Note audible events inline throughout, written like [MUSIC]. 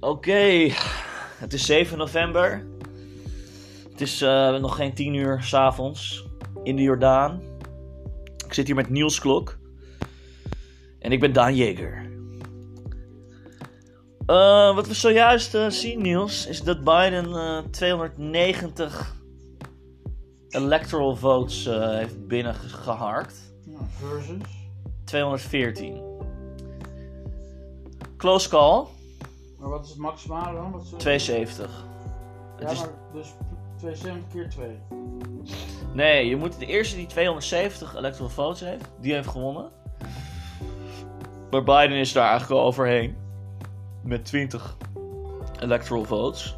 Oké, het is 7 november. Het is eh, nog geen 10 uur s'avonds in de Jordaan. Ik zit hier met Niels Klok. En ik ben Daan Jeger. Eh, wat we zojuist eh, zien, Niels, is dat Biden eh, 290 electoral votes eh, heeft binnengeharkt. Ja, versus. 214. Close call, Maar wat is het maximale dan? Wat ze... 270. Ja, Het is, maar dus 270 keer 2. nee, je moet de eerste die 270 electoral votes heeft, die heeft gewonnen. Maar Biden is daar eigenlijk al overheen. Met 20 electoral votes.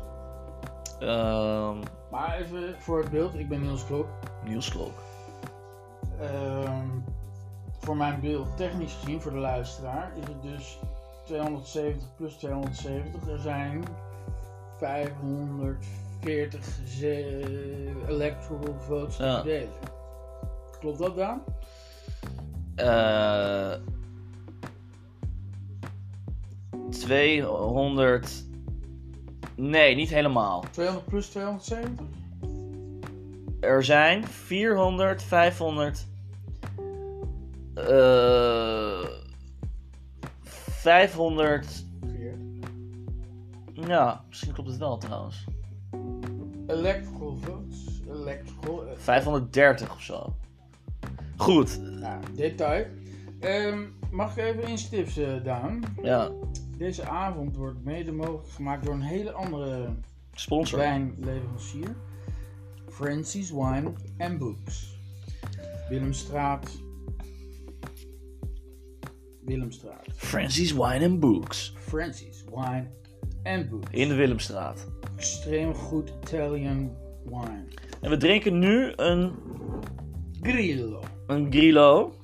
Ehm Maar even voor het beeld, ik ben Niels Klok. Niels Klok. Ehm, voor mijn beeld, technisch gezien, voor de luisteraar, is het dus 270 plus 270. Er zijn 540 ze- electoral votes te Ja. verdelen. Klopt dat dan? Eh 200. Nee, niet helemaal. 200 plus 270? Er zijn 400, 500. eh 500. Ja, misschien klopt het wel trouwens. Electoral votes. Electoral. 530 of zo. Goed, Nou, detail. Ehm, mag ik even instiften, Daan? ja. Deze avond wordt mede mogelijk gemaakt door een hele andere Sponsor. wijnleverancier. Francis Wine and Books. Willemstraat. Willemstraat. Francis Wine and Books. Francis Wine and Books. In de Willemstraat. Extreem goed Italian wine. En we drinken nu een, Grillo. een Grillo.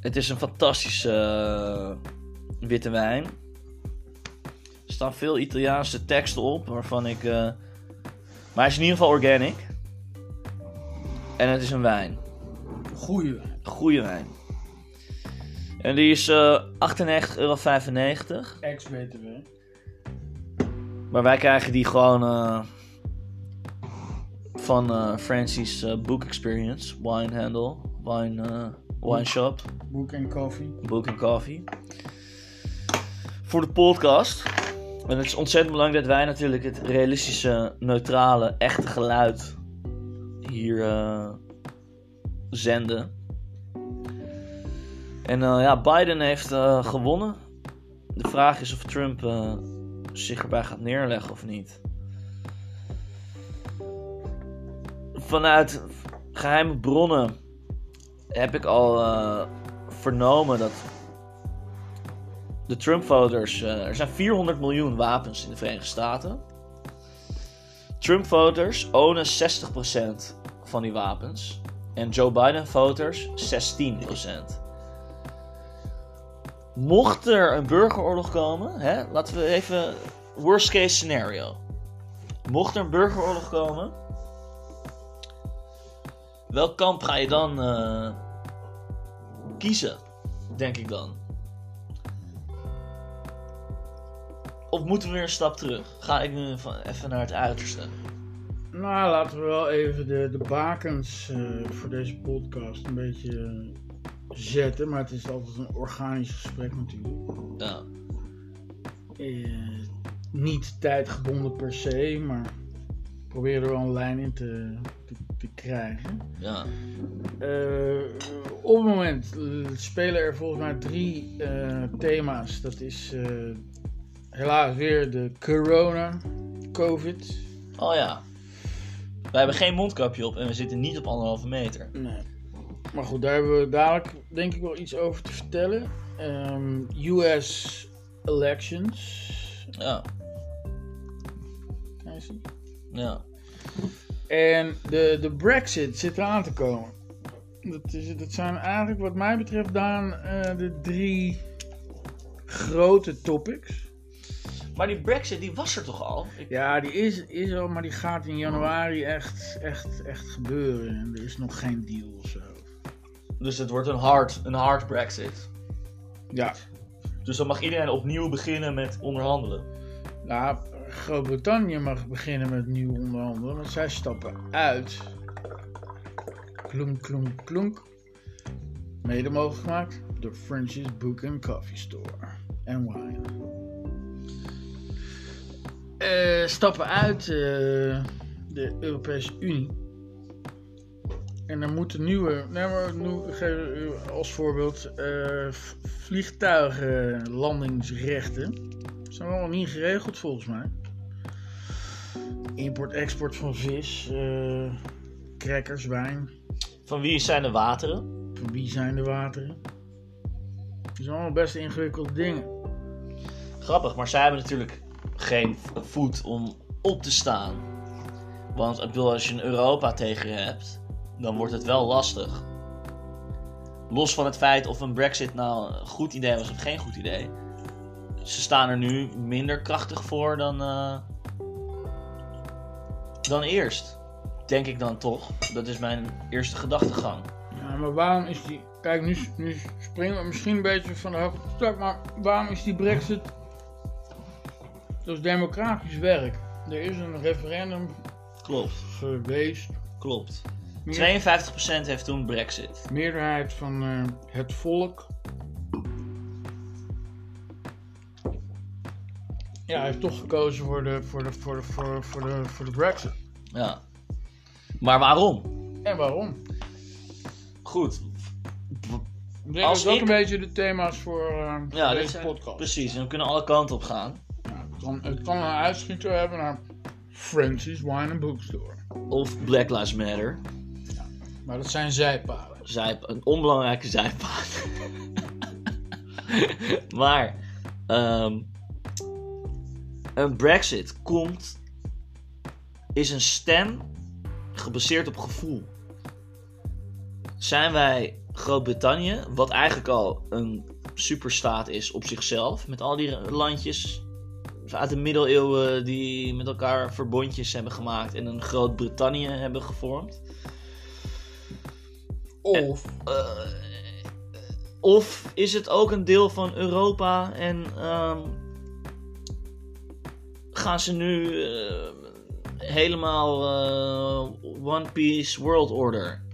Het is een fantastische eh, witte wijn. Er staan veel Italiaanse teksten op, waarvan ik. eh, Maar hij is in ieder geval organic. En het is een wijn. Goeie wijn. Goede wijn. En die is eh 98,95 euro. Ex-BTW. Maar wij krijgen die gewoon eh, van eh Francis eh, Book Experience. Wine Handle. Wine, eh, wine Shop. Boek en koffie. Book and Coffee. Voor de podcast. En het is ontzettend belangrijk dat wij natuurlijk het realistische, neutrale, echte geluid hier eh, zenden. En eh, ja, Biden heeft eh, gewonnen. De vraag is of Trump eh, zich erbij gaat neerleggen of niet. Vanuit geheime bronnen heb ik al eh, vernomen dat de Trump-voters. eh, er zijn 400 miljoen wapens in de Verenigde Staten. Trump-voters ownen 60% van die wapens. En Joe Biden-voters 16%. Mocht er een burgeroorlog komen, hè, laten we even. Worst case scenario. Mocht er een burgeroorlog komen. Welk kamp ga je dan eh, kiezen, denk ik dan. Of moeten we weer een stap terug? Ga ik nu van- even naar het uiterste? Nou, laten we wel even de, de bakens eh, voor deze podcast een beetje eh, zetten. Maar het is altijd een organisch gesprek natuurlijk. Ja. Eh, niet tijdgebonden per se, maar probeer er wel een lijn in te, te, te krijgen. ja. Eh, op het moment eh, spelen er volgens mij drie eh, thema's. Dat is eh, helaas weer de corona, covid. Oh ja. Wij hebben geen mondkapje op en we zitten niet op anderhalve meter. Nee. Maar goed, daar hebben we dadelijk denk ik wel iets over te vertellen. Ehm, US elections. Ja. Kan je zien? Ja. En de, de Brexit zit eraan te komen. Dat, is, dat zijn eigenlijk wat mij betreft dan de drie grote topics. Maar die Brexit, die was er toch al? Ik- Ja, die is, is al, maar die gaat in januari echt, echt, echt gebeuren. En er is nog geen deal of zo. Dus het wordt een hard, een hard Brexit. Ja. Dus dan mag iedereen opnieuw beginnen met onderhandelen. Nou, Groot-Brittannië mag beginnen met nieuw onderhandelen, want zij stappen uit. Klonk, klonk, klonk. Mede mogelijk gemaakt door French's Book and Coffee Store and Wine. Eh, stappen uit eh, de Europese Unie. En er moeten nieuwe, nee, maar nu, geef- als voorbeeld, eh, v- vliegtuigenlandingsrechten. Zijn allemaal niet geregeld volgens mij. Import-export van vis, eh crackers, wijn. Van wie zijn de wateren? Van wie zijn de wateren? Het zijn allemaal best ingewikkelde dingen. Grappig, maar zij hebben natuurlijk geen v- voet om op te staan. Want ik bedoel, als je een Europa tegen je hebt, dan wordt het wel lastig. Los van het feit of een Brexit nou een goed idee was of geen goed idee. Ze staan er nu minder krachtig voor dan, eh, dan eerst. Denk ik dan toch. Dat is mijn eerste gedachtegang. Ja, maar waarom is die... Kijk, nu, nu springen we misschien een beetje van de hoogte op de tak, maar waarom is die brexit... Dat is democratisch werk. Er is een referendum Klopt, geweest. klopt. Meer- 52% heeft toen Brexit. meerderheid van eh, het volk. Ja, hij heeft toch gekozen voor de, voor de, voor de, voor de, voor de, voor de Brexit. Ja. Maar waarom? En waarom? Goed. Ik denk Als dat ik- dat een beetje de thema's voor eh, Ja, dit deze zijn- podcast. Precies, en we kunnen alle kanten op gaan. Ja, het, kan, het kan een uitschieter hebben naar Francis Wine and Bookstore. Of Black Lives Matter. Maar dat zijn zijpaden. Zijp, een onbelangrijke zijpaad. [LAUGHS] maar, ehm, een Brexit komt. is een stem gebaseerd op gevoel. Zijn wij Groot-Brittannië, wat eigenlijk al een superstaat is op zichzelf, met al die landjes uit de middeleeuwen die met elkaar verbondjes hebben gemaakt en een Groot-Brittannië hebben gevormd? Of Eh, of is het ook een deel van Europa en ehm, gaan ze nu eh, helemaal eh, One Piece World Order?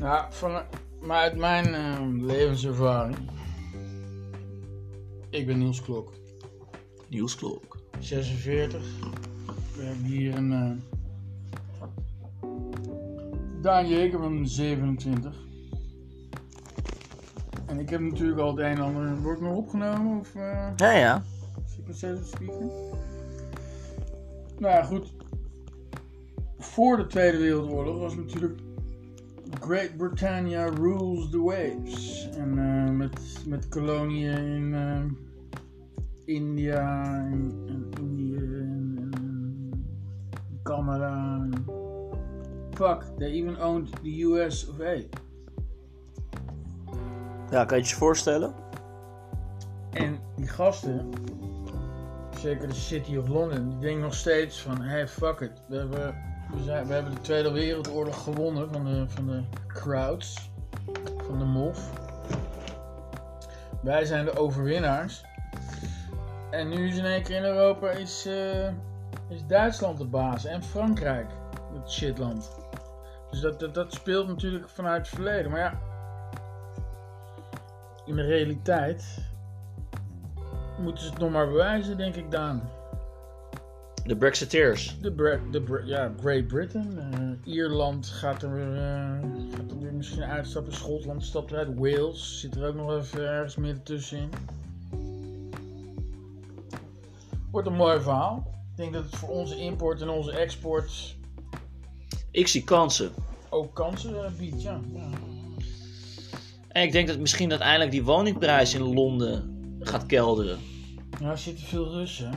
Ja, van, maar uit mijn eh, levenservaring. Ik ben Niels Klok. Nieuwsklok. 46. We hebben hier een. eh Daan Jeker van 27. En ik heb natuurlijk al het een en ander. Wordt nog opgenomen? Of eh Ja, ja. zit ik nog steeds op de speaker? Nou ja, goed. Voor de Tweede Wereldoorlog was natuurlijk. Great Britannia rules the waves. En eh, met, met koloniën in. eh, India en, en Indië en, en Canada. En... Fuck, they even owned the US of A. Ja, kan je het je voorstellen? En die gasten, zeker de City of London, die denken nog steeds van, hey fuck it, we hebben, we, zijn, we hebben de Tweede Wereldoorlog gewonnen van de, van de crowds, van de mof. Wij zijn de overwinnaars. En nu is in één keer in Europa is, eh, is Duitsland de baas en Frankrijk, het shitland. Dus dat, dat, dat speelt natuurlijk vanuit het verleden. Maar ja, in de realiteit moeten ze het nog maar bewijzen, denk ik, Daan. De Brexiteers. De, Bre- de Bre- ja, Great Britain. eh, Ierland gaat er, weer, eh, gaat er weer misschien uitstappen. Schotland stapt eruit. Wales zit er ook nog even ergens midden tussenin. Wordt een mooi verhaal. Ik denk dat het voor onze import en onze export Ik zie kansen. ook kansen eh, biedt. Ja. Ja. En ik denk dat misschien uiteindelijk die woningprijs in Londen gaat kelderen. Nou, er zitten veel Russen. hè.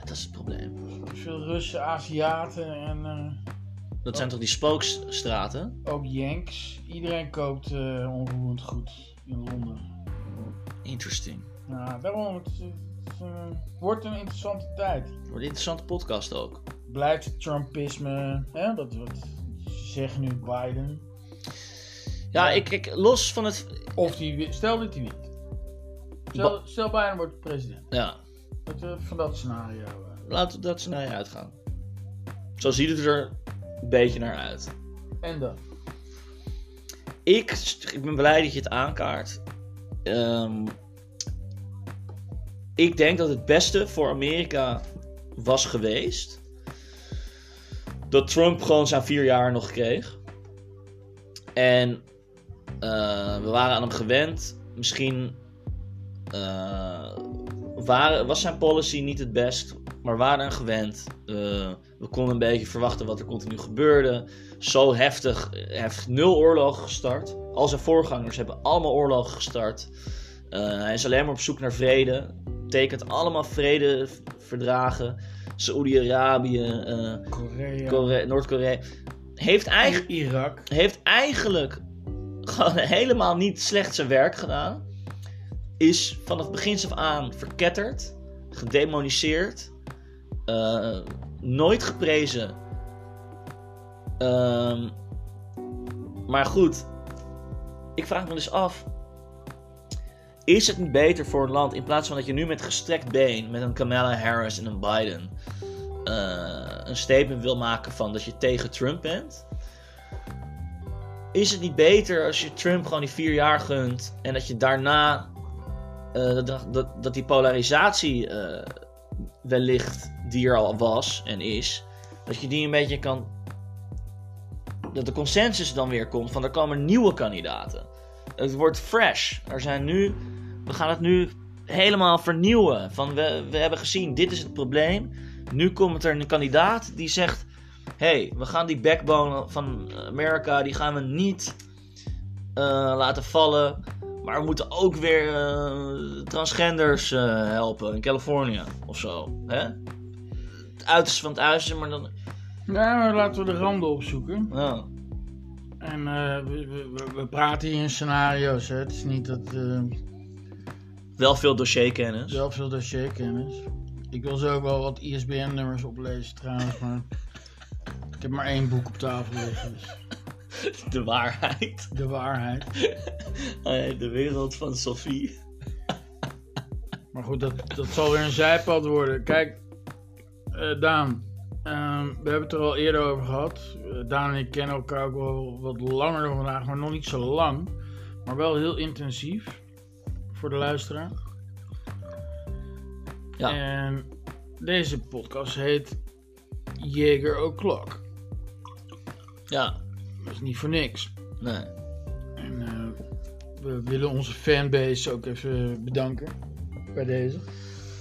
Dat is het probleem. Veel Russen, Aziaten en eh, Dat zijn toch die spookstraten? ook Yanks. Iedereen koopt eh, onroerend goed in Londen. Interesting. Nou, daarom. Het, het, eh, wordt een interessante tijd. Wordt een interessante podcast ook. Blijft het Trumpisme, hè, dat wat ze zeggen nu Biden. Ja, ik, ik, los van het... Of die, wi- stel dat hij niet. Stel, stel Biden wordt president. Ja, Dat we van dat scenario. eh, laten we dat scenario uitgaan. Zo ziet het er een beetje naar uit. en dan. Ik, st- ik ben blij dat je het aankaart. Ehm, ik denk dat het beste voor Amerika was geweest. Dat Trump gewoon zijn vier jaar nog kreeg. En eh, we waren aan hem gewend. Misschien eh, waren, was zijn policy niet het best. Maar we waren aan gewend. Eh, we konden een beetje verwachten wat er continu gebeurde zo heftig. Hij heeft nul oorlogen gestart. Al zijn voorgangers hebben allemaal oorlogen gestart. Eh, hij is alleen maar op zoek naar vrede. Tekent allemaal vredeverdragen. Saoedi-Arabië, eh, Korea. Kore- Noord-Korea. Heeft, eigen- Irak. heeft eigenlijk gewoon [LAUGHS] helemaal niet slecht zijn werk gedaan. Is van het begins af aan verketterd, gedemoniseerd, eh, nooit geprezen. Ehm, maar goed, ik vraag me dus af. Is het niet beter voor een land in plaats van dat je nu met gestrekt been, met een Kamala Harris en een Biden, eh, een statement wil maken van dat je tegen Trump bent? is het niet beter als je Trump gewoon die vier jaar gunt en dat je daarna eh, dat, dat, dat die polarisatie eh, wellicht die er al was en is, dat je die een beetje kan. Dat de consensus dan weer komt van er komen nieuwe kandidaten. Het wordt fresh. Er zijn nu, we gaan het nu helemaal vernieuwen. Van we, we hebben gezien, dit is het probleem. Nu komt er een kandidaat die zegt hey, we gaan die backbone van Amerika, die gaan we niet eh, laten vallen. Maar we moeten ook weer eh, transgenders eh, helpen in Californië of zo. Hè? Het uiterste van het uiterste, maar dan... Nou, maar laten we de randen opzoeken. Ja, En eh, we, we- we- we praten hier in scenario's. Hè. Het is niet dat eh wel veel dossierkennis. zelf veel dossierkennis. Ik wil zo ook wel wat ISBN-nummers oplezen trouwens, maar ik heb maar één boek op tafel liggen. Dus De waarheid. [LAUGHS] de waarheid. Eh, De wereld van Sophie. Maar goed, dat, dat zal weer een zijpad worden. Kijk, eh, Daan, ehm, we hebben het er al eerder over gehad. Eh, Daan en ik kennen elkaar ook wel wat langer dan vandaag, maar nog niet zo lang. Maar wel heel intensief voor de luisteraar. Ja. En deze podcast heet Jager O'Clock. Ja, Dat is niet voor niks. nee. En eh, we willen onze fanbase ook even bedanken bij deze.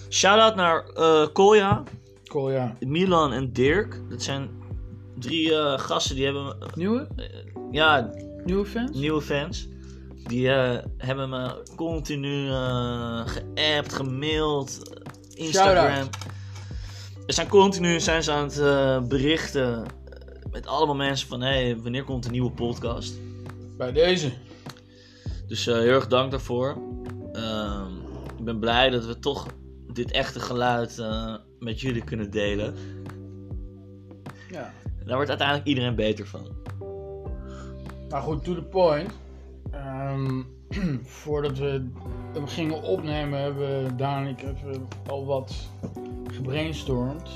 Shout-out naar eh Kolja, Cool, ja. Milan en Dirk. Dat zijn drie eh, gasten die hebben... eh, Nieuwe? ja, Nieuwe fans? nieuwe fans. Die eh, hebben me continu eh geappt, gemaild, eh, Instagram. Shout-out. Ze zijn continu zijn ze aan het eh, berichten eh, met allemaal mensen van... hé, hey, wanneer komt een nieuwe podcast? Bij deze. Dus eh, heel erg dank daarvoor. Ehm, ik ben blij dat we toch dit echte geluid eh, met jullie kunnen delen. Ja. Daar wordt uiteindelijk iedereen beter van. Maar goed, to the point. Ehm, [CLEARS THROAT] voordat we hem gingen opnemen, hebben Daan en ik even al wat gebrainstormd.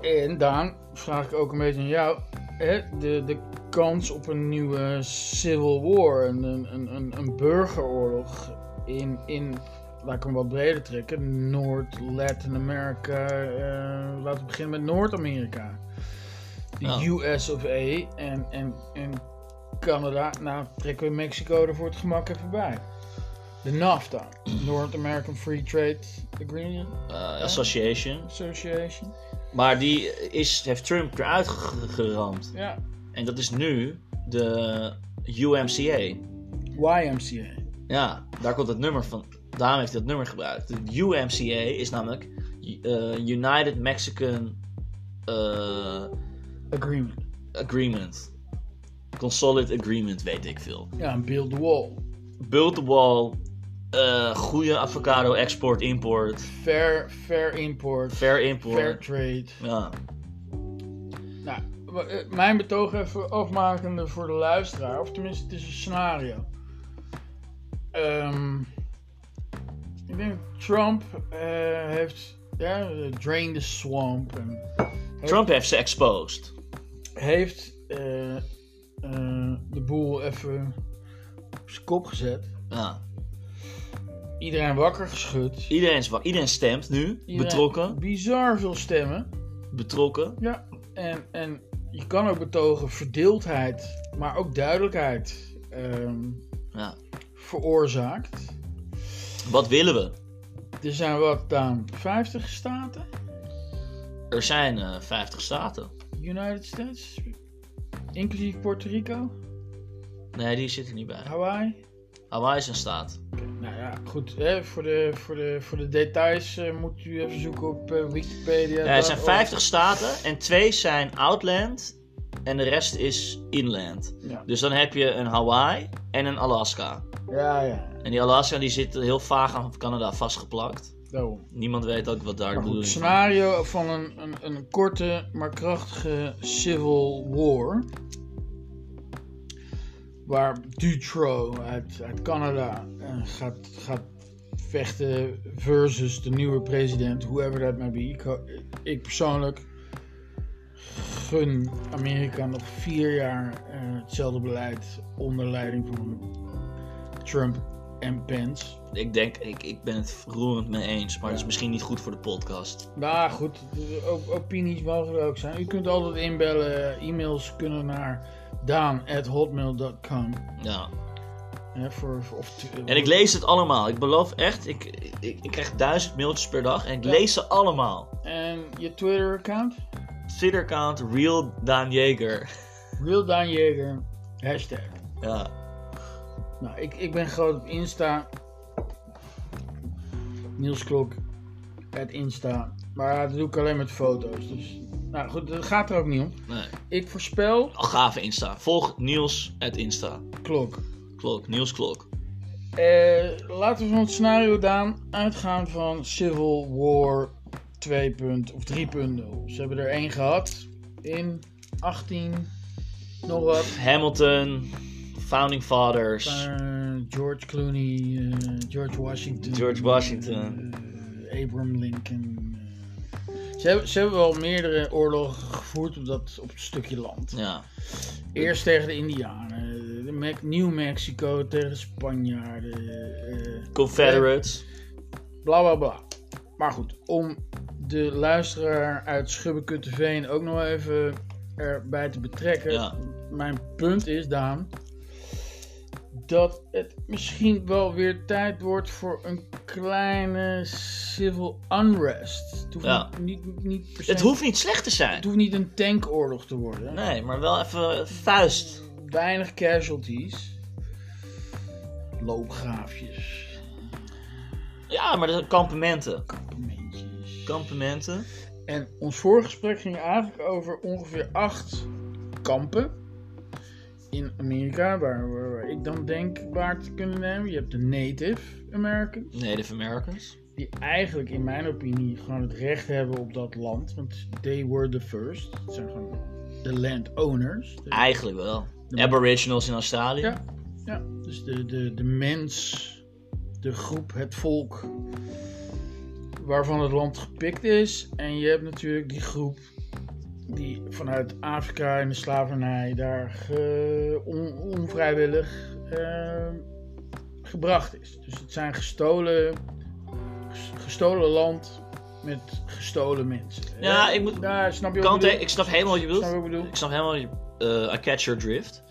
En Daan, vraag ik ook een beetje aan jou. Hè, de, de kans op een nieuwe civil war, een, een, een- een, een burgeroorlog in, in, laat ik hem wat breder trekken, Noord, Latin America, eh, laten we beginnen met Noord-Amerika. De Ja. US of A en, en, en Canada, nou trekken we Mexico er voor het gemak even bij. De NAFTA, North American Free Trade Agreement Eh, association. Association. Maar die is, heeft Trump eruit ge- geramd. Ja, En dat is nu de UMCA. YMCA. Ja, daar komt het nummer van. Daarom heeft hij dat nummer gebruikt. De UMCA is namelijk eh, United Mexican eh, Agreement. Agreement. Consolid Agreement, weet ik veel. Ja, en Build the Wall. Build the wall. eh, goede avocado export, import. Fair, fair import. Fair import. Fair trade. Ja. Nou, w- eh, mijn betoog even afmakende voor de luisteraar, of tenminste, het is een scenario. Ehm, ik denk dat Trump eh, heeft. Ja, eh, drain the swamp. En Trump heeft ze exposed. heeft eh, eh, de boel even op zijn kop gezet. Ja. Iedereen wakker geschud. Iedereen, is, wa- iedereen stemt nu. Iedereen Betrokken. eh, Bizar veel stemmen. Betrokken. Ja, en, en je kan ook betogen verdeeldheid, maar ook duidelijkheid ehm, Ja. veroorzaakt. Wat willen we? Er zijn wat dan 50 staten, Er zijn eh 50 staten. United States, inclusief Puerto Rico, Nee, die zitten niet bij. Hawaii. Hawaii is een staat. Oké, Nou ja, goed. Hè, voor, de, voor, de, voor de details eh, moet u even zoeken op eh, Wikipedia. Ja, er zijn Oh, 50 staten en twee zijn outland en de rest is inland. Ja, Dus dan heb je een Hawaii en een Alaska. ja, ja En die Alaska die zit heel vaag aan Canada vastgeplakt. daarom. Niemand weet ook wat daar de Maar goed, bedoeling het is. scenario van een, een, een korte maar krachtige civil war. Waar Dutro uit, uit Canada eh, gaat, gaat vechten versus de nieuwe president, whoever that may be. Ik, ho- ik persoonlijk gun Amerika nog vier jaar eh, hetzelfde beleid onder leiding van Trump en Pence. Ik denk, ik, ik ben het roerend mee eens, maar dat is Ja. misschien niet goed voor de podcast. Nou goed, op- opinies mogen er ook zijn. U kunt altijd inbellen. eh, E-mails kunnen naar daan.hotmail.com. Ja. Hè, voor, voor- of tu- En ik lees het allemaal. Ik beloof echt, ik, ik, ik krijg duizend mailtjes per dag en ik Ja. lees ze allemaal. En je Twitter-account? Twitter-account Real Daan Jager. Real Daan Jeger. Hashtag. Ja. Nou, ik, ik ben groot op Insta. Niels Klok. Het Insta. Maar dat doe ik alleen met foto's. Dus, nou goed, dat gaat er ook niet om. Nee. Ik voorspel Al gave Insta. Volg Niels uit Insta. Klok. Klok, Niels Klok. Eh, laten we van het scenario Daan uitgaan van Civil War 2. punt- of 3.0. Ze hebben er één gehad in 18 nog wat. Hamilton, Founding Fathers. Eh, George Clooney, eh, George Washington. George Washington. eh, Abraham Lincoln. eh. Ze hebben, ze hebben wel meerdere oorlogen gevoerd op dat op het stukje land. Ja. Eerst tegen de Indianen, eh, de Mex- New Mexico tegen de Spanjaarden. eh, Confederates. bla bla bla. Maar goed, om de luisteraar uit Schubbekutteveen ook nog even erbij te betrekken. Ja. Mijn punt is, Daan, dat het misschien wel weer tijd wordt voor een kleine civil unrest. Het hoeft Ja. niet, niet, niet per se- Het hoeft niet slecht te het zijn. hoeft niet een tankoorlog te worden. Nee, maar wel even vuist. Weinig casualties. Loopgraafjes. Ja, maar de kampementen. Momentjes. Kampementen. En ons vorige gesprek ging eigenlijk over ongeveer acht kampen in Amerika, waar, waar- waar ik dan denk waar te kunnen nemen. Je hebt de Native Americans, Native Americans. die eigenlijk in mijn opinie gewoon het recht hebben op dat land, want they were the first. Het zijn gewoon de landowners. De- Eigenlijk wel. de- Aboriginals in Australië. Ja. ja, dus de, de, de mens, de groep, het volk waarvan het land gepikt is. En je hebt natuurlijk die groep die vanuit Afrika in de slavernij daar ge- on- onvrijwillig eh, gebracht is. Dus het zijn gestolen, ges- gestolen land met gestolen mensen. Ja, ik moet- Ja, snap je wat Kant, ik bedoel? ik snap helemaal wat je Snap je bedoelt. wat ik bedoel? Ik snap helemaal je. eh I catch your drift.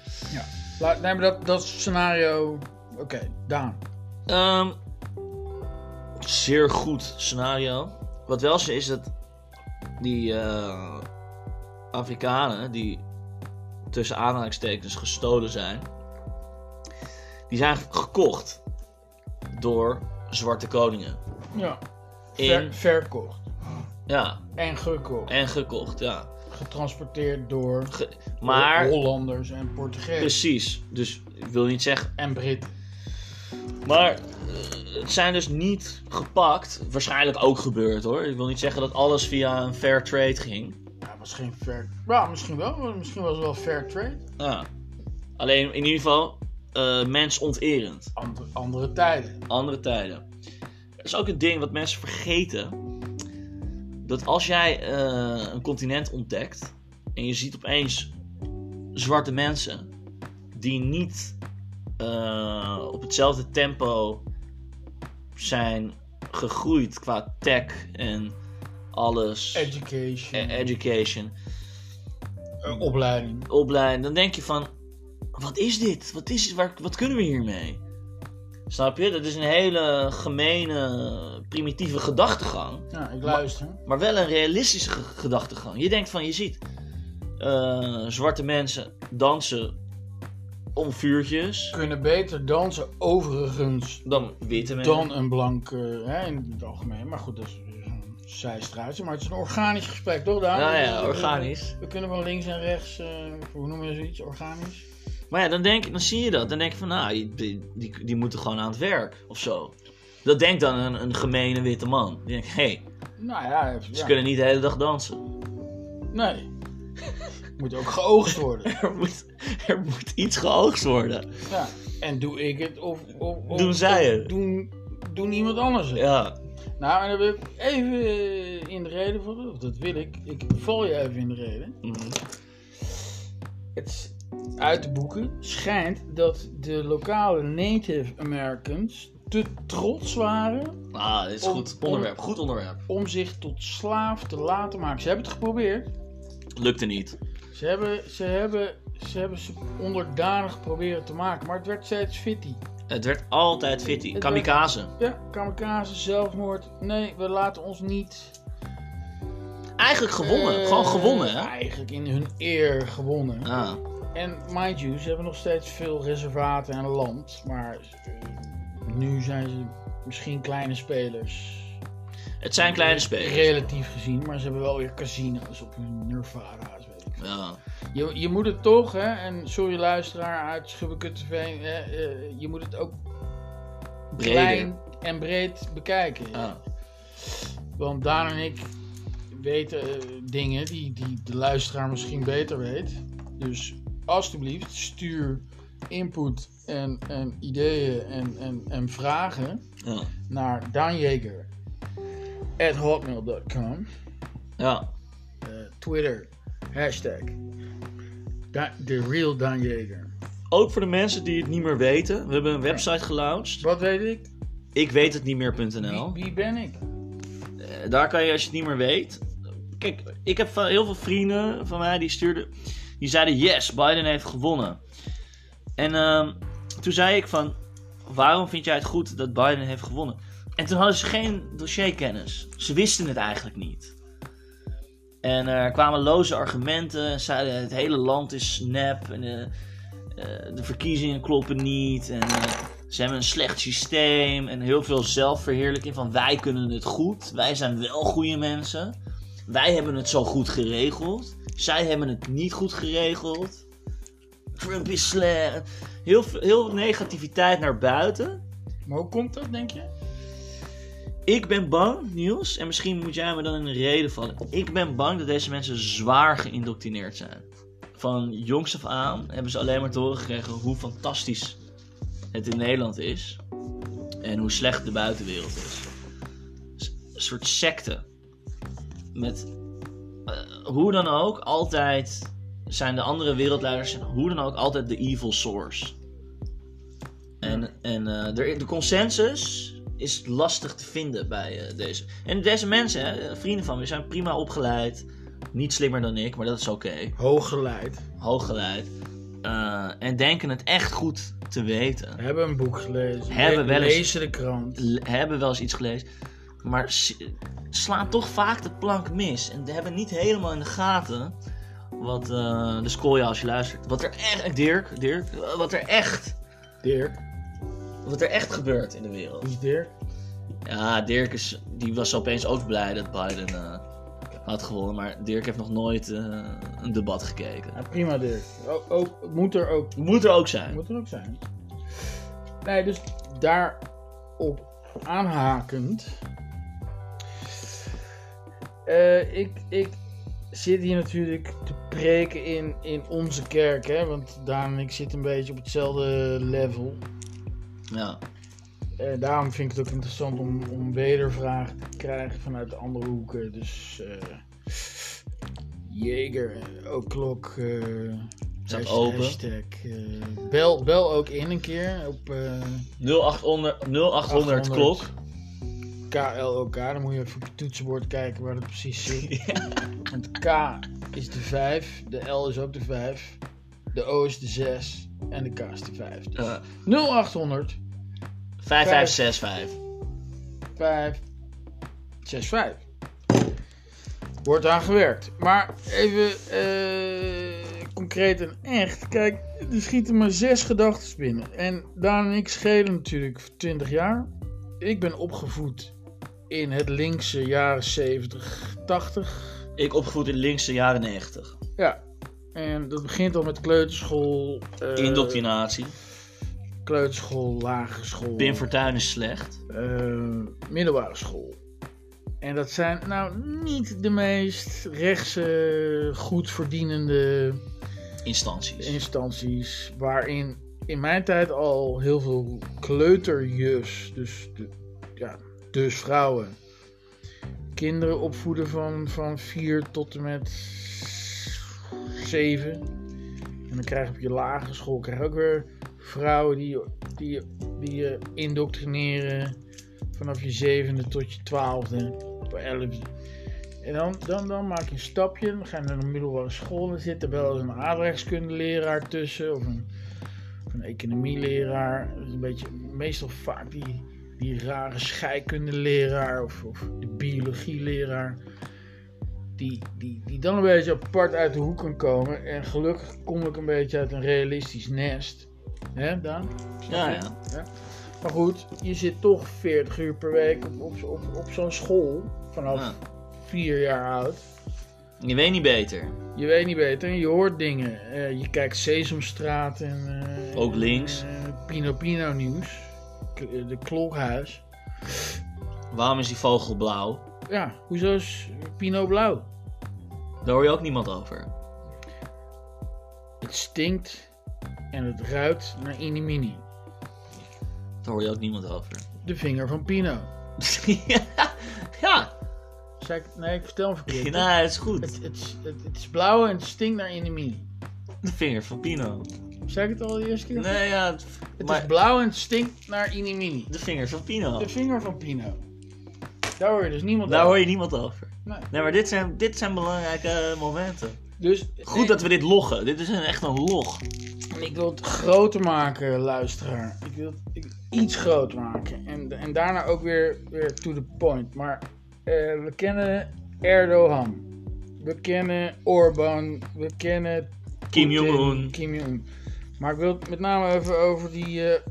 Laat- Nee, maar dat, dat scenario... Oké, Daan. Ehm, zeer goed scenario. Wat wel zo is dat die eh, Afrikanen die tussen aanhalingstekens gestolen zijn, die zijn gekocht door zwarte koningen. Ja. In, Ver- verkocht. ja, En gekocht. en gekocht, ja. Getransporteerd door Ge- maar, Oh, Hollanders en Portugees precies. Dus ik wil niet zeggen en Britten. Maar eh, het zijn dus niet gepakt. Waarschijnlijk ook gebeurd hoor. Ik wil niet zeggen dat alles via een fair trade ging. Ja, was geen fair. Ja, misschien wel. maar Misschien was het wel fair trade. Ja. Ah. Alleen in ieder geval eh mensonterend. Andere, andere tijden. andere tijden. Dat is ook een ding wat mensen vergeten. Dat als jij eh, een continent ontdekt en je ziet opeens zwarte mensen die niet eh, op hetzelfde tempo zijn gegroeid qua tech en alles, Education. en education, eh, opleiding. opleiding, dan denk je van, wat is dit? Wat, is, dit? waar, wat kunnen we hiermee? Snap je? Dat is een hele gemene, primitieve gedachtegang. Ja, ik luister. Maar wel een realistische ge- gedachtegang. Je denkt van, je ziet eh, zwarte mensen dansen om vuurtjes. Kunnen beter dansen overigens Dan witte mensen. dan een blank eh, hè, in het algemeen. Maar goed, dat is weer zo'n zijstraatje. Maar het is een organisch gesprek, toch? Daan? Nou Dus, ja, eh, organisch. We kunnen van links en rechts, eh, hoe noemen we zoiets, organisch? Maar ja, dan, denk, dan zie je dat. Dan denk je van, nou, die, die, die, die moeten gewoon aan het werk of zo. Dat denkt dan een, een gemene witte man. Die denkt, hé, hey, Nou ja, even- ze ja. kunnen niet de hele dag dansen. [LAUGHS] nee. Moet ook geoogst worden. Er moet, er moet iets geoogst worden. Ja. En doe ik het of... of, of- Doen zij of het? Doen, doen iemand anders het. Ja. Nou, en dan wil ik even eh, in de reden vallen. Of dat wil ik. Ik val je even in de reden. Mhm. Het is uit de boeken schijnt dat de lokale Native Americans te trots waren Ah, dit is Om- goed onderwerp. Goed onderwerp. om zich tot slaaf te laten maken. Ze hebben het geprobeerd. Lukte niet. Ze hebben ze, hebben, ze, hebben ze onderdanig proberen te maken, maar het werd steeds fitty. Het werd altijd fitty. werd- Kamikaze. Ja, kamikaze, zelfmoord. Nee, we laten ons niet. Eigenlijk gewonnen. eh, Gewoon gewonnen, hè? Eigenlijk in hun eer gewonnen. Ah, En mind you, ze hebben nog steeds veel reservaten en land. Maar eh, nu zijn ze misschien kleine spelers. het zijn kleine spelers. Relatief gezien, maar ze hebben wel weer casino's op hun Nervada's. Weet ik. Ja. Je, je moet het toch, hè, en sorry luisteraar uit Schubbekut TV, hè, eh, je moet het ook Breder. klein en breed bekijken. Ah. Want Daan en ik weten eh, dingen die, die de luisteraar misschien beter weet. Dus alstublieft, stuur input en, en ideeën en, en, en vragen Ja. naar Daan Jeger. At hotmail.com. ja. Eh, Twitter. Hashtag. Da- de real Daan Jeger. Ook voor de mensen die het niet meer weten. We hebben een website gelaunched. Wat weet ik? Ik weet het niet Wie, meer.nl. wie ben ik? Eh, Daar kan je als je het niet meer weet. Kijk, ik heb van- heel veel vrienden van mij die stuurden. Die zeiden: Yes, Biden heeft gewonnen. En ehm, toen zei ik: van, Waarom vind jij het goed dat Biden heeft gewonnen? En toen hadden ze geen dossierkennis. Ze wisten het eigenlijk niet. En er kwamen loze argumenten. En zeiden: Het hele land is nep. En, eh, eh, de verkiezingen kloppen niet. En. eh, ze hebben een slecht systeem en heel veel zelfverheerlijking van wij kunnen het goed. Wij zijn wel goede mensen. Wij hebben het zo goed geregeld. Zij hebben het niet goed geregeld. Trump is slecht. Heel, veel- heel veel negativiteit naar buiten. Maar hoe komt dat, denk je? Ik ben bang, Niels, en misschien moet jij me dan in de reden vallen. Ik ben bang dat deze mensen zwaar geïndoctrineerd zijn. Van jongs af aan hebben ze alleen maar te horen gekregen hoe fantastisch het in Nederland is. En hoe slecht de buitenwereld is. S- Een soort secte. Met eh, hoe dan ook altijd zijn de andere wereldleiders hoe dan ook altijd de evil source. En, en eh, er- de consensus is lastig te vinden bij eh, deze. En deze mensen, hè, vrienden van me, zijn prima opgeleid. Niet slimmer dan ik, maar dat is oké. Hooggeleid. Hooggeleid. Eh, en denken het echt goed te weten. Hebben een boek gelezen. Hebben wel eens- Lezen de krant. le- hebben wel eens iets gelezen, maar s- slaan toch vaak de plank mis. En hebben niet helemaal in de gaten wat, eh dus call je als je luistert, wat er echt, Dirk, Dirk, eh, wat er echt, Dirk. wat er echt gebeurt in de wereld. Wie is Dirk? Ja, Dirk is, die was opeens ook blij dat Biden eh, had gewonnen, maar Dirk heeft nog nooit eh, een debat gekeken. Ja, prima Dirk. Ook, ook, moet er ook. Moet er ook zijn. Moet er ook zijn. Nee, dus daarop aanhakend. Eh, ik, ik zit hier natuurlijk te preken in, in onze kerk, hè? Want Daan en ik zitten een beetje op hetzelfde level. Ja. Eh, daarom vind ik het ook interessant om, om wedervragen te krijgen vanuit de andere hoeken. Dus eh Jeger, O'Klok, eh Staat hasht- open. hashtag. eh, bel, bel ook in een keer op eh 0800, 0800 klok. KLOK. Dan moet je even op je toetsenbord kijken waar dat precies zit. [LAUGHS] Ja. Want K is de 5, de L is ook de 5, de O is de 6 en de K is de 5. Dus Eh, 0800 5565. 565. Wordt aan gewerkt. Maar even eh, concreet en echt. Kijk, er schieten maar zes gedachten binnen. En Daan en ik schelen natuurlijk 20 jaar. Ik ben opgevoed in het linkse jaren 70, 80. Ik opgevoed in linkse jaren 90. Ja. En dat begint al met kleuterschool. eh, Indoctrinatie. Kleuterschool, lagere school. Pim Fortuyn is slecht. eh, middelbare school. En dat zijn nou niet de meest rechtse, goed verdienende Instanties. instanties. Waarin in mijn tijd al heel veel kleuterjus, dus, de, ja, dus vrouwen, kinderen opvoeden van, van 4 tot en met 7. En dan krijg je op je lagere school krijg je ook weer vrouwen die, die, die je indoctrineren vanaf je zevende tot je twaalfde, op elfde. En dan, dan, dan maak je een stapje, dan ga je naar de middelbare school. Dan zit er wel eens een aardrijkskundeleraar tussen, of een, of een economieleraar. Dat is een beetje, meestal vaak die, die rare scheikundeleraar of, of de biologieleraar. Die, die, die dan een beetje apart uit de hoek kan komen. En gelukkig kom ik een beetje uit een realistisch nest. Hè, Daan? Ja, ja. Maar goed, je zit toch 40 uur per week op, op, op, op zo'n school vanaf Ja. vier jaar oud. Je weet niet beter. Je weet niet beter en je hoort dingen. Eh, je kijkt Sesamstraat en... eh, Ook links. eh, Pino Pino Nieuws. K- eh, de Klokhuis. Waarom is die vogel blauw? Ja, hoezo is Pino blauw? Daar hoor je ook niemand over. Het stinkt en het ruikt naar inimini. Daar hoor je ook niemand over. [LAUGHS] De vinger van Pino. ja. ja. Zei ik, nee, ik vertel hem verkeerd. Nou, het is goed. Het, het, het, het is blauw en het stinkt naar inimini. De vinger van Pino. Zei ik het al de eerste keer? Nee, ja. Het, Het maar is blauw en het stinkt naar inimini. de vinger van Pino. De vinger van Pino. Daar hoor je dus niemand Daar over. hoor je niemand over. Nee. Nee, maar dit zijn, dit zijn belangrijke eh, momenten. Dus, Goed dat we dit loggen. Dit is een, echt een log. Ik wil het groter maken, luisteraar. Ik wil het ik, iets groter maken. En, en daarna ook weer, weer to the point. Maar eh, we kennen Erdogan. We kennen Orbán. We kennen Kim Poetin, Jong-un. Kim Jong-un. Maar ik wil het met name even over die... eh,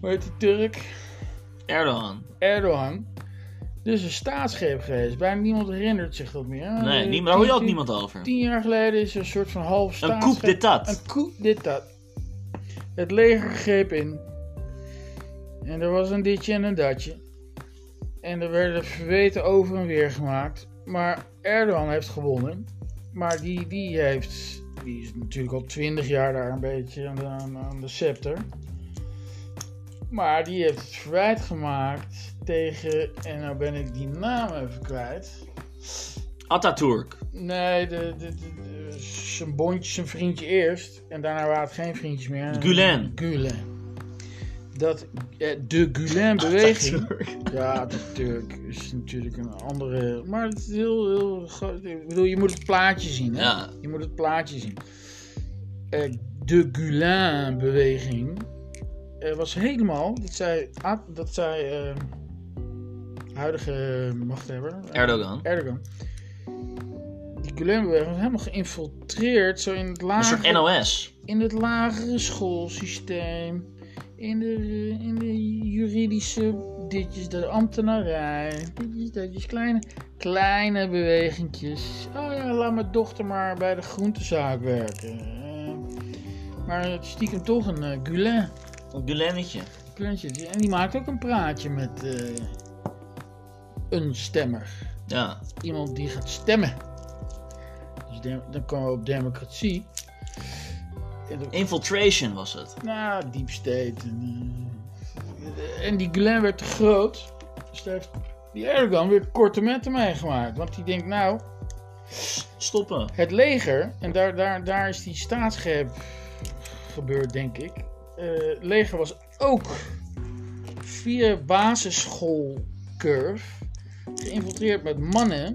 hoe heet die Turk? Erdogan. Erdogan. Dus een staatsgreep geweest. Bijna niemand herinnert zich dat meer. Nee, Eh, niet, daar hoor je tien- ook tien- niemand over. Tien jaar geleden is er een soort van half Een staatsgreep. koep dit dat. Een coup d'état. Het leger greep in. En er was een ditje en een datje. En er werden verweten over en weer gemaakt. Maar Erdogan heeft gewonnen. Maar die, die, heeft, die is natuurlijk al twintig jaar daar een beetje aan de, aan, aan de scepter. Maar die heeft het verwijt gemaakt tegen, en nou ben ik die naam even kwijt. Atatürk. Nee, de, de, de, de- zijn bondje, zijn vriendje eerst. En daarna waren het geen vriendjes meer. Gulen. Gulen. Dat, eh, de Gulen-beweging. Ja, natuurlijk. Is natuurlijk een andere. Maar het is heel, heel groot. Ik bedoel, je moet het plaatje zien. Hè? Ja. Je moet het plaatje zien. Eh, de Gulen-beweging eh, was helemaal. Dat zei, At- dat zei eh, huidige machthebber. eh, Erdogan. Erdogan. Die Gulenberg was helemaal geïnfiltreerd zo in het Een soort lagere, NOS. in het lagere schoolsysteem. In de, eh, in de juridische ditjes, de ambtenarij. Ditjes, datjes, kleine, kleine bewegingjes. Oh ja, laat mijn dochter maar bij de groentezaak werken. Eh, maar het stiekem toch een eh, Gulen. Een Gulennetje. Gulen'tje. En die maakt ook een praatje met eh, een stemmer. Ja. Iemand die gaat stemmen. dus dem- dan komen we op democratie. En dan- Infiltration was het. nou, deep state. En, eh, en die Gulen werd te groot. Dus daar heeft die Erdogan weer korte metten mee gemaakt. Want die denkt, nou, Stoppen. het leger, en daar, daar, daar is die staatsgreep gebeurd, denk ik. Eh, Het leger was ook via basisschoolcurve geïnfiltreerd met mannen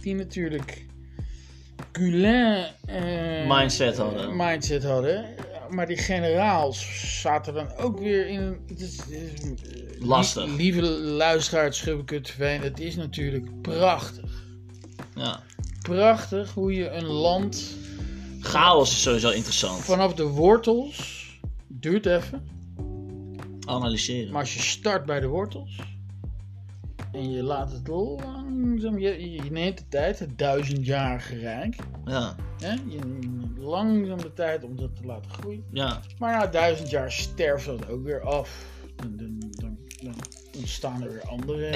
die natuurlijk Gulen eh, Mindset hadden. eh, mindset hadden. Maar die generaals zaten dan ook weer in een. het is- het is- eh, Lastig. lie- Lieve luisteraars, Schubbekut Veen, het is natuurlijk prachtig Ja. prachtig hoe je een land Chaos is sowieso interessant. vanaf de wortels. Duurt even. Analyseren. Maar als je start bij de wortels. En je laat het langzaam. Je, je neemt de tijd, het duizendjarige rijk. Ja. Hè? Je neemt langzaam de tijd om dat te laten groeien. Ja. Maar na duizend jaar sterft dat ook weer af. Dan, dan, dan, dan ontstaan er weer andere.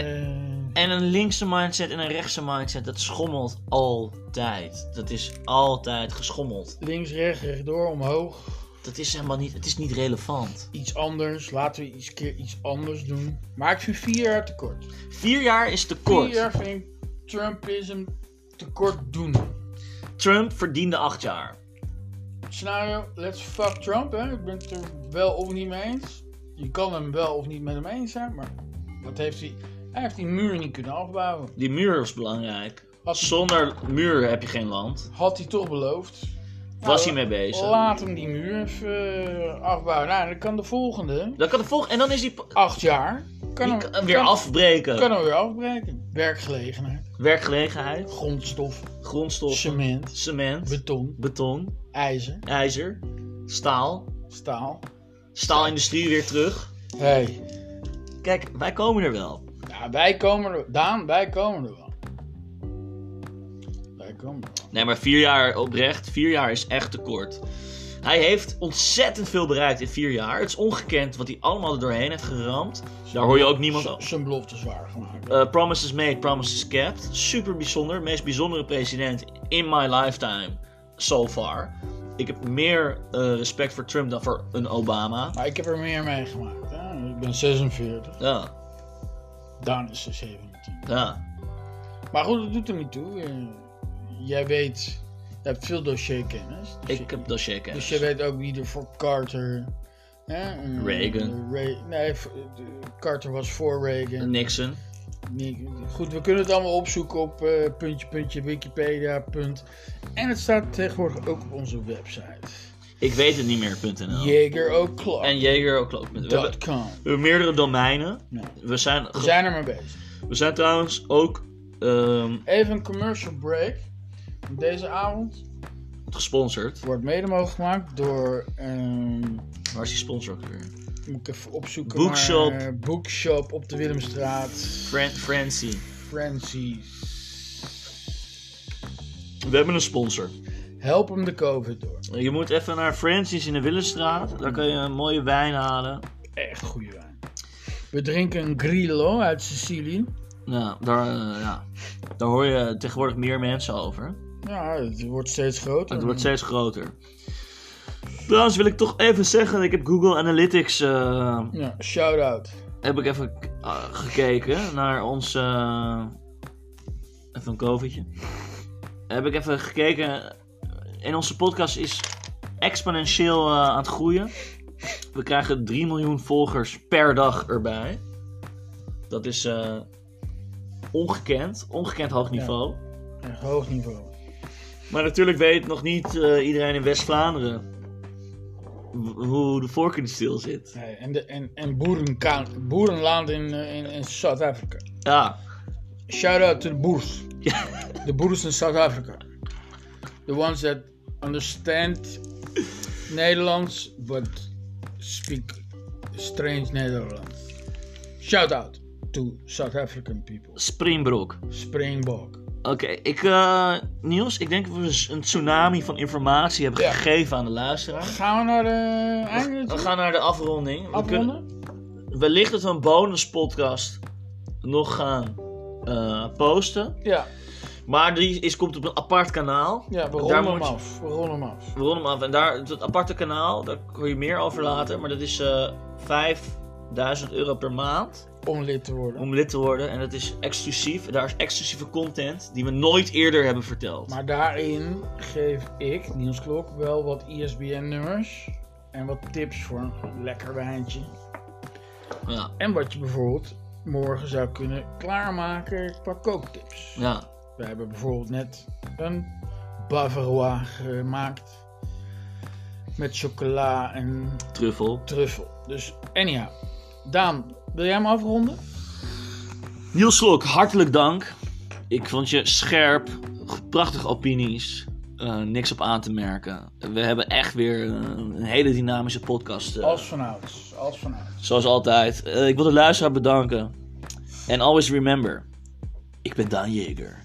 En een linkse mindset en een rechtse mindset, dat schommelt altijd. Dat is altijd geschommeld. Links, rechts, rechtdoor, omhoog. Dat is helemaal niet, het is niet relevant. Iets anders. Laten we iets keer iets anders doen. Maar ik vind vier jaar tekort. Vier jaar is te Vier kort. jaar vind ik Trumpism tekort doen. Trump verdiende acht jaar. Scenario, let's fuck Trump, hè. Ik ben het er wel of niet mee eens. Je kan hem wel of niet met hem eens zijn, maar wat heeft hij... Hij heeft die muur niet kunnen afbouwen. Die muur was belangrijk. Had, Zonder muur heb je geen land. had hij toch beloofd. Nou, Was hij mee bezig? Laat hem die muur even eh, afbouwen. Nou, dan kan de volgende, Dan kan de volgende, en dan is die, die acht jaar, kan hem, kan weer kan- afbreken. kan hem weer afbreken. Werkgelegenheid, Werkgelegenheid, grondstof, grondstoffen, cement, cement, beton, beton, ijzer, ijzer, staal. staal. Staalindustrie weer terug. Hey. Kijk, wij komen er wel. Ja, wij komen er Daan, wij komen er wel. Wij komen er wel. Nee, maar vier jaar oprecht, vier jaar is echt te kort. Hij heeft ontzettend veel bereikt in vier jaar. Het is ongekend wat hij allemaal er doorheen heeft geramd. Daar hoor je ook niemand Z- over. Zijn belofte zwaar gemaakt. Eh, promises made, promises kept. Super bijzonder. Meest bijzondere president in my lifetime so far. Ik heb meer eh, respect voor Trump dan voor een Obama. Maar ik heb er meer meegemaakt. Hè? Ik ben 46, Ja, Daan is 17. ja. Maar goed, dat doet er niet toe. Eh, Jij weet, je hebt veel dossierkennis. Dus, Ik je- heb dossierkennis. dus je weet ook wie er voor Carter... Hè? eh, Reagan. eh, Re- nee, v- eh, Carter was voor Reagan. Nixon. Nee, Goed, we kunnen het allemaal opzoeken op eh, puntje, puntje, Wikipedia, punt. En het staat tegenwoordig ook op onze website. Ik weet het niet meer.nl. En JagerO'Clock.com Jager ook. klopt. We hebben- We hebben meerdere domeinen. Ja. We zijn, We zijn er mee bezig. we zijn trouwens ook ehm, Even een commercial break. Want Deze avond gesponsord. wordt mede mogelijk gemaakt door... ehm, Waar is die sponsor ook weer? moet ik even opzoeken. Bookshop. maar, eh, bookshop op de Willemstraat. Fran Francie. Francis. We hebben een sponsor. Help hem de COVID door. Je moet even naar Francis in de Willenstraat. Daar kan je een mooie wijn halen. Echt goede wijn. We drinken een Grillo uit Sicilië. Nou, daar, eh, ja. daar hoor je tegenwoordig meer mensen over. Ja, het wordt steeds groter. Het wordt steeds groter. Trouwens wil ik toch even zeggen, ik heb Google Analytics eh, Ja, shout-out. heb ik even eh, gekeken naar ons. eh, even een covertje. Heb ik even gekeken. En onze podcast is exponentieel eh, aan het groeien. We krijgen 3 miljoen volgers per dag erbij. Dat is eh, ongekend. Ongekend hoog niveau. Echt hoog niveau. Maar natuurlijk weet nog niet eh, iedereen in West-Vlaanderen w- hoe de voorkeur zit. Nee, en, de, en, en boerenka- boerenland in, eh, in, in Zuid-Afrika. Ja, Shout-out to the boers. [LAUGHS] De boers in Zuid-Afrika. The ones that understand Nederlands, but speak strange Nederlands. Shout-out to South African people. Springbroek. Springbok. Oké, ik, eh Niels, ik denk dat we z- een tsunami van informatie hebben Ja. gegeven aan de luisteraar. Gaan we naar de einde We toe? gaan naar de afronding. We kunnen- afronden? wellicht dat we een bonuspodcast nog gaan eh, posten. Ja. Maar die is, komt op een apart kanaal. Ja, Daar we ronden hem moet je- af. We ronden hem af. We ronden hem af. En daar, dat aparte kanaal, daar hoor je meer over later. Maar dat is eh 5000 euro per maand Om lid te worden. om lid te worden. En dat is exclusief. Daar is exclusieve content die we nooit eerder hebben verteld. Maar daarin geef ik, Niels Klok, wel wat E ISBN-nummers. En wat tips voor een lekker wijntje. Ja, En wat je bijvoorbeeld morgen zou kunnen klaarmaken qua kooktips. ja. We hebben bijvoorbeeld net een bavarois gemaakt. Met chocola en truffel. truffel. Dus anyhow. Daan, wil jij hem afronden? Niels Slok, hartelijk dank. Ik vond je scherp, prachtige opinies, eh, niks op aan te merken. We hebben echt weer eh, een hele dynamische podcast. eh, Als vanouds. Als vanouds. Zoals altijd. Eh, ik wil de luisteraar bedanken. En always remember, ik ben Daan Jeger.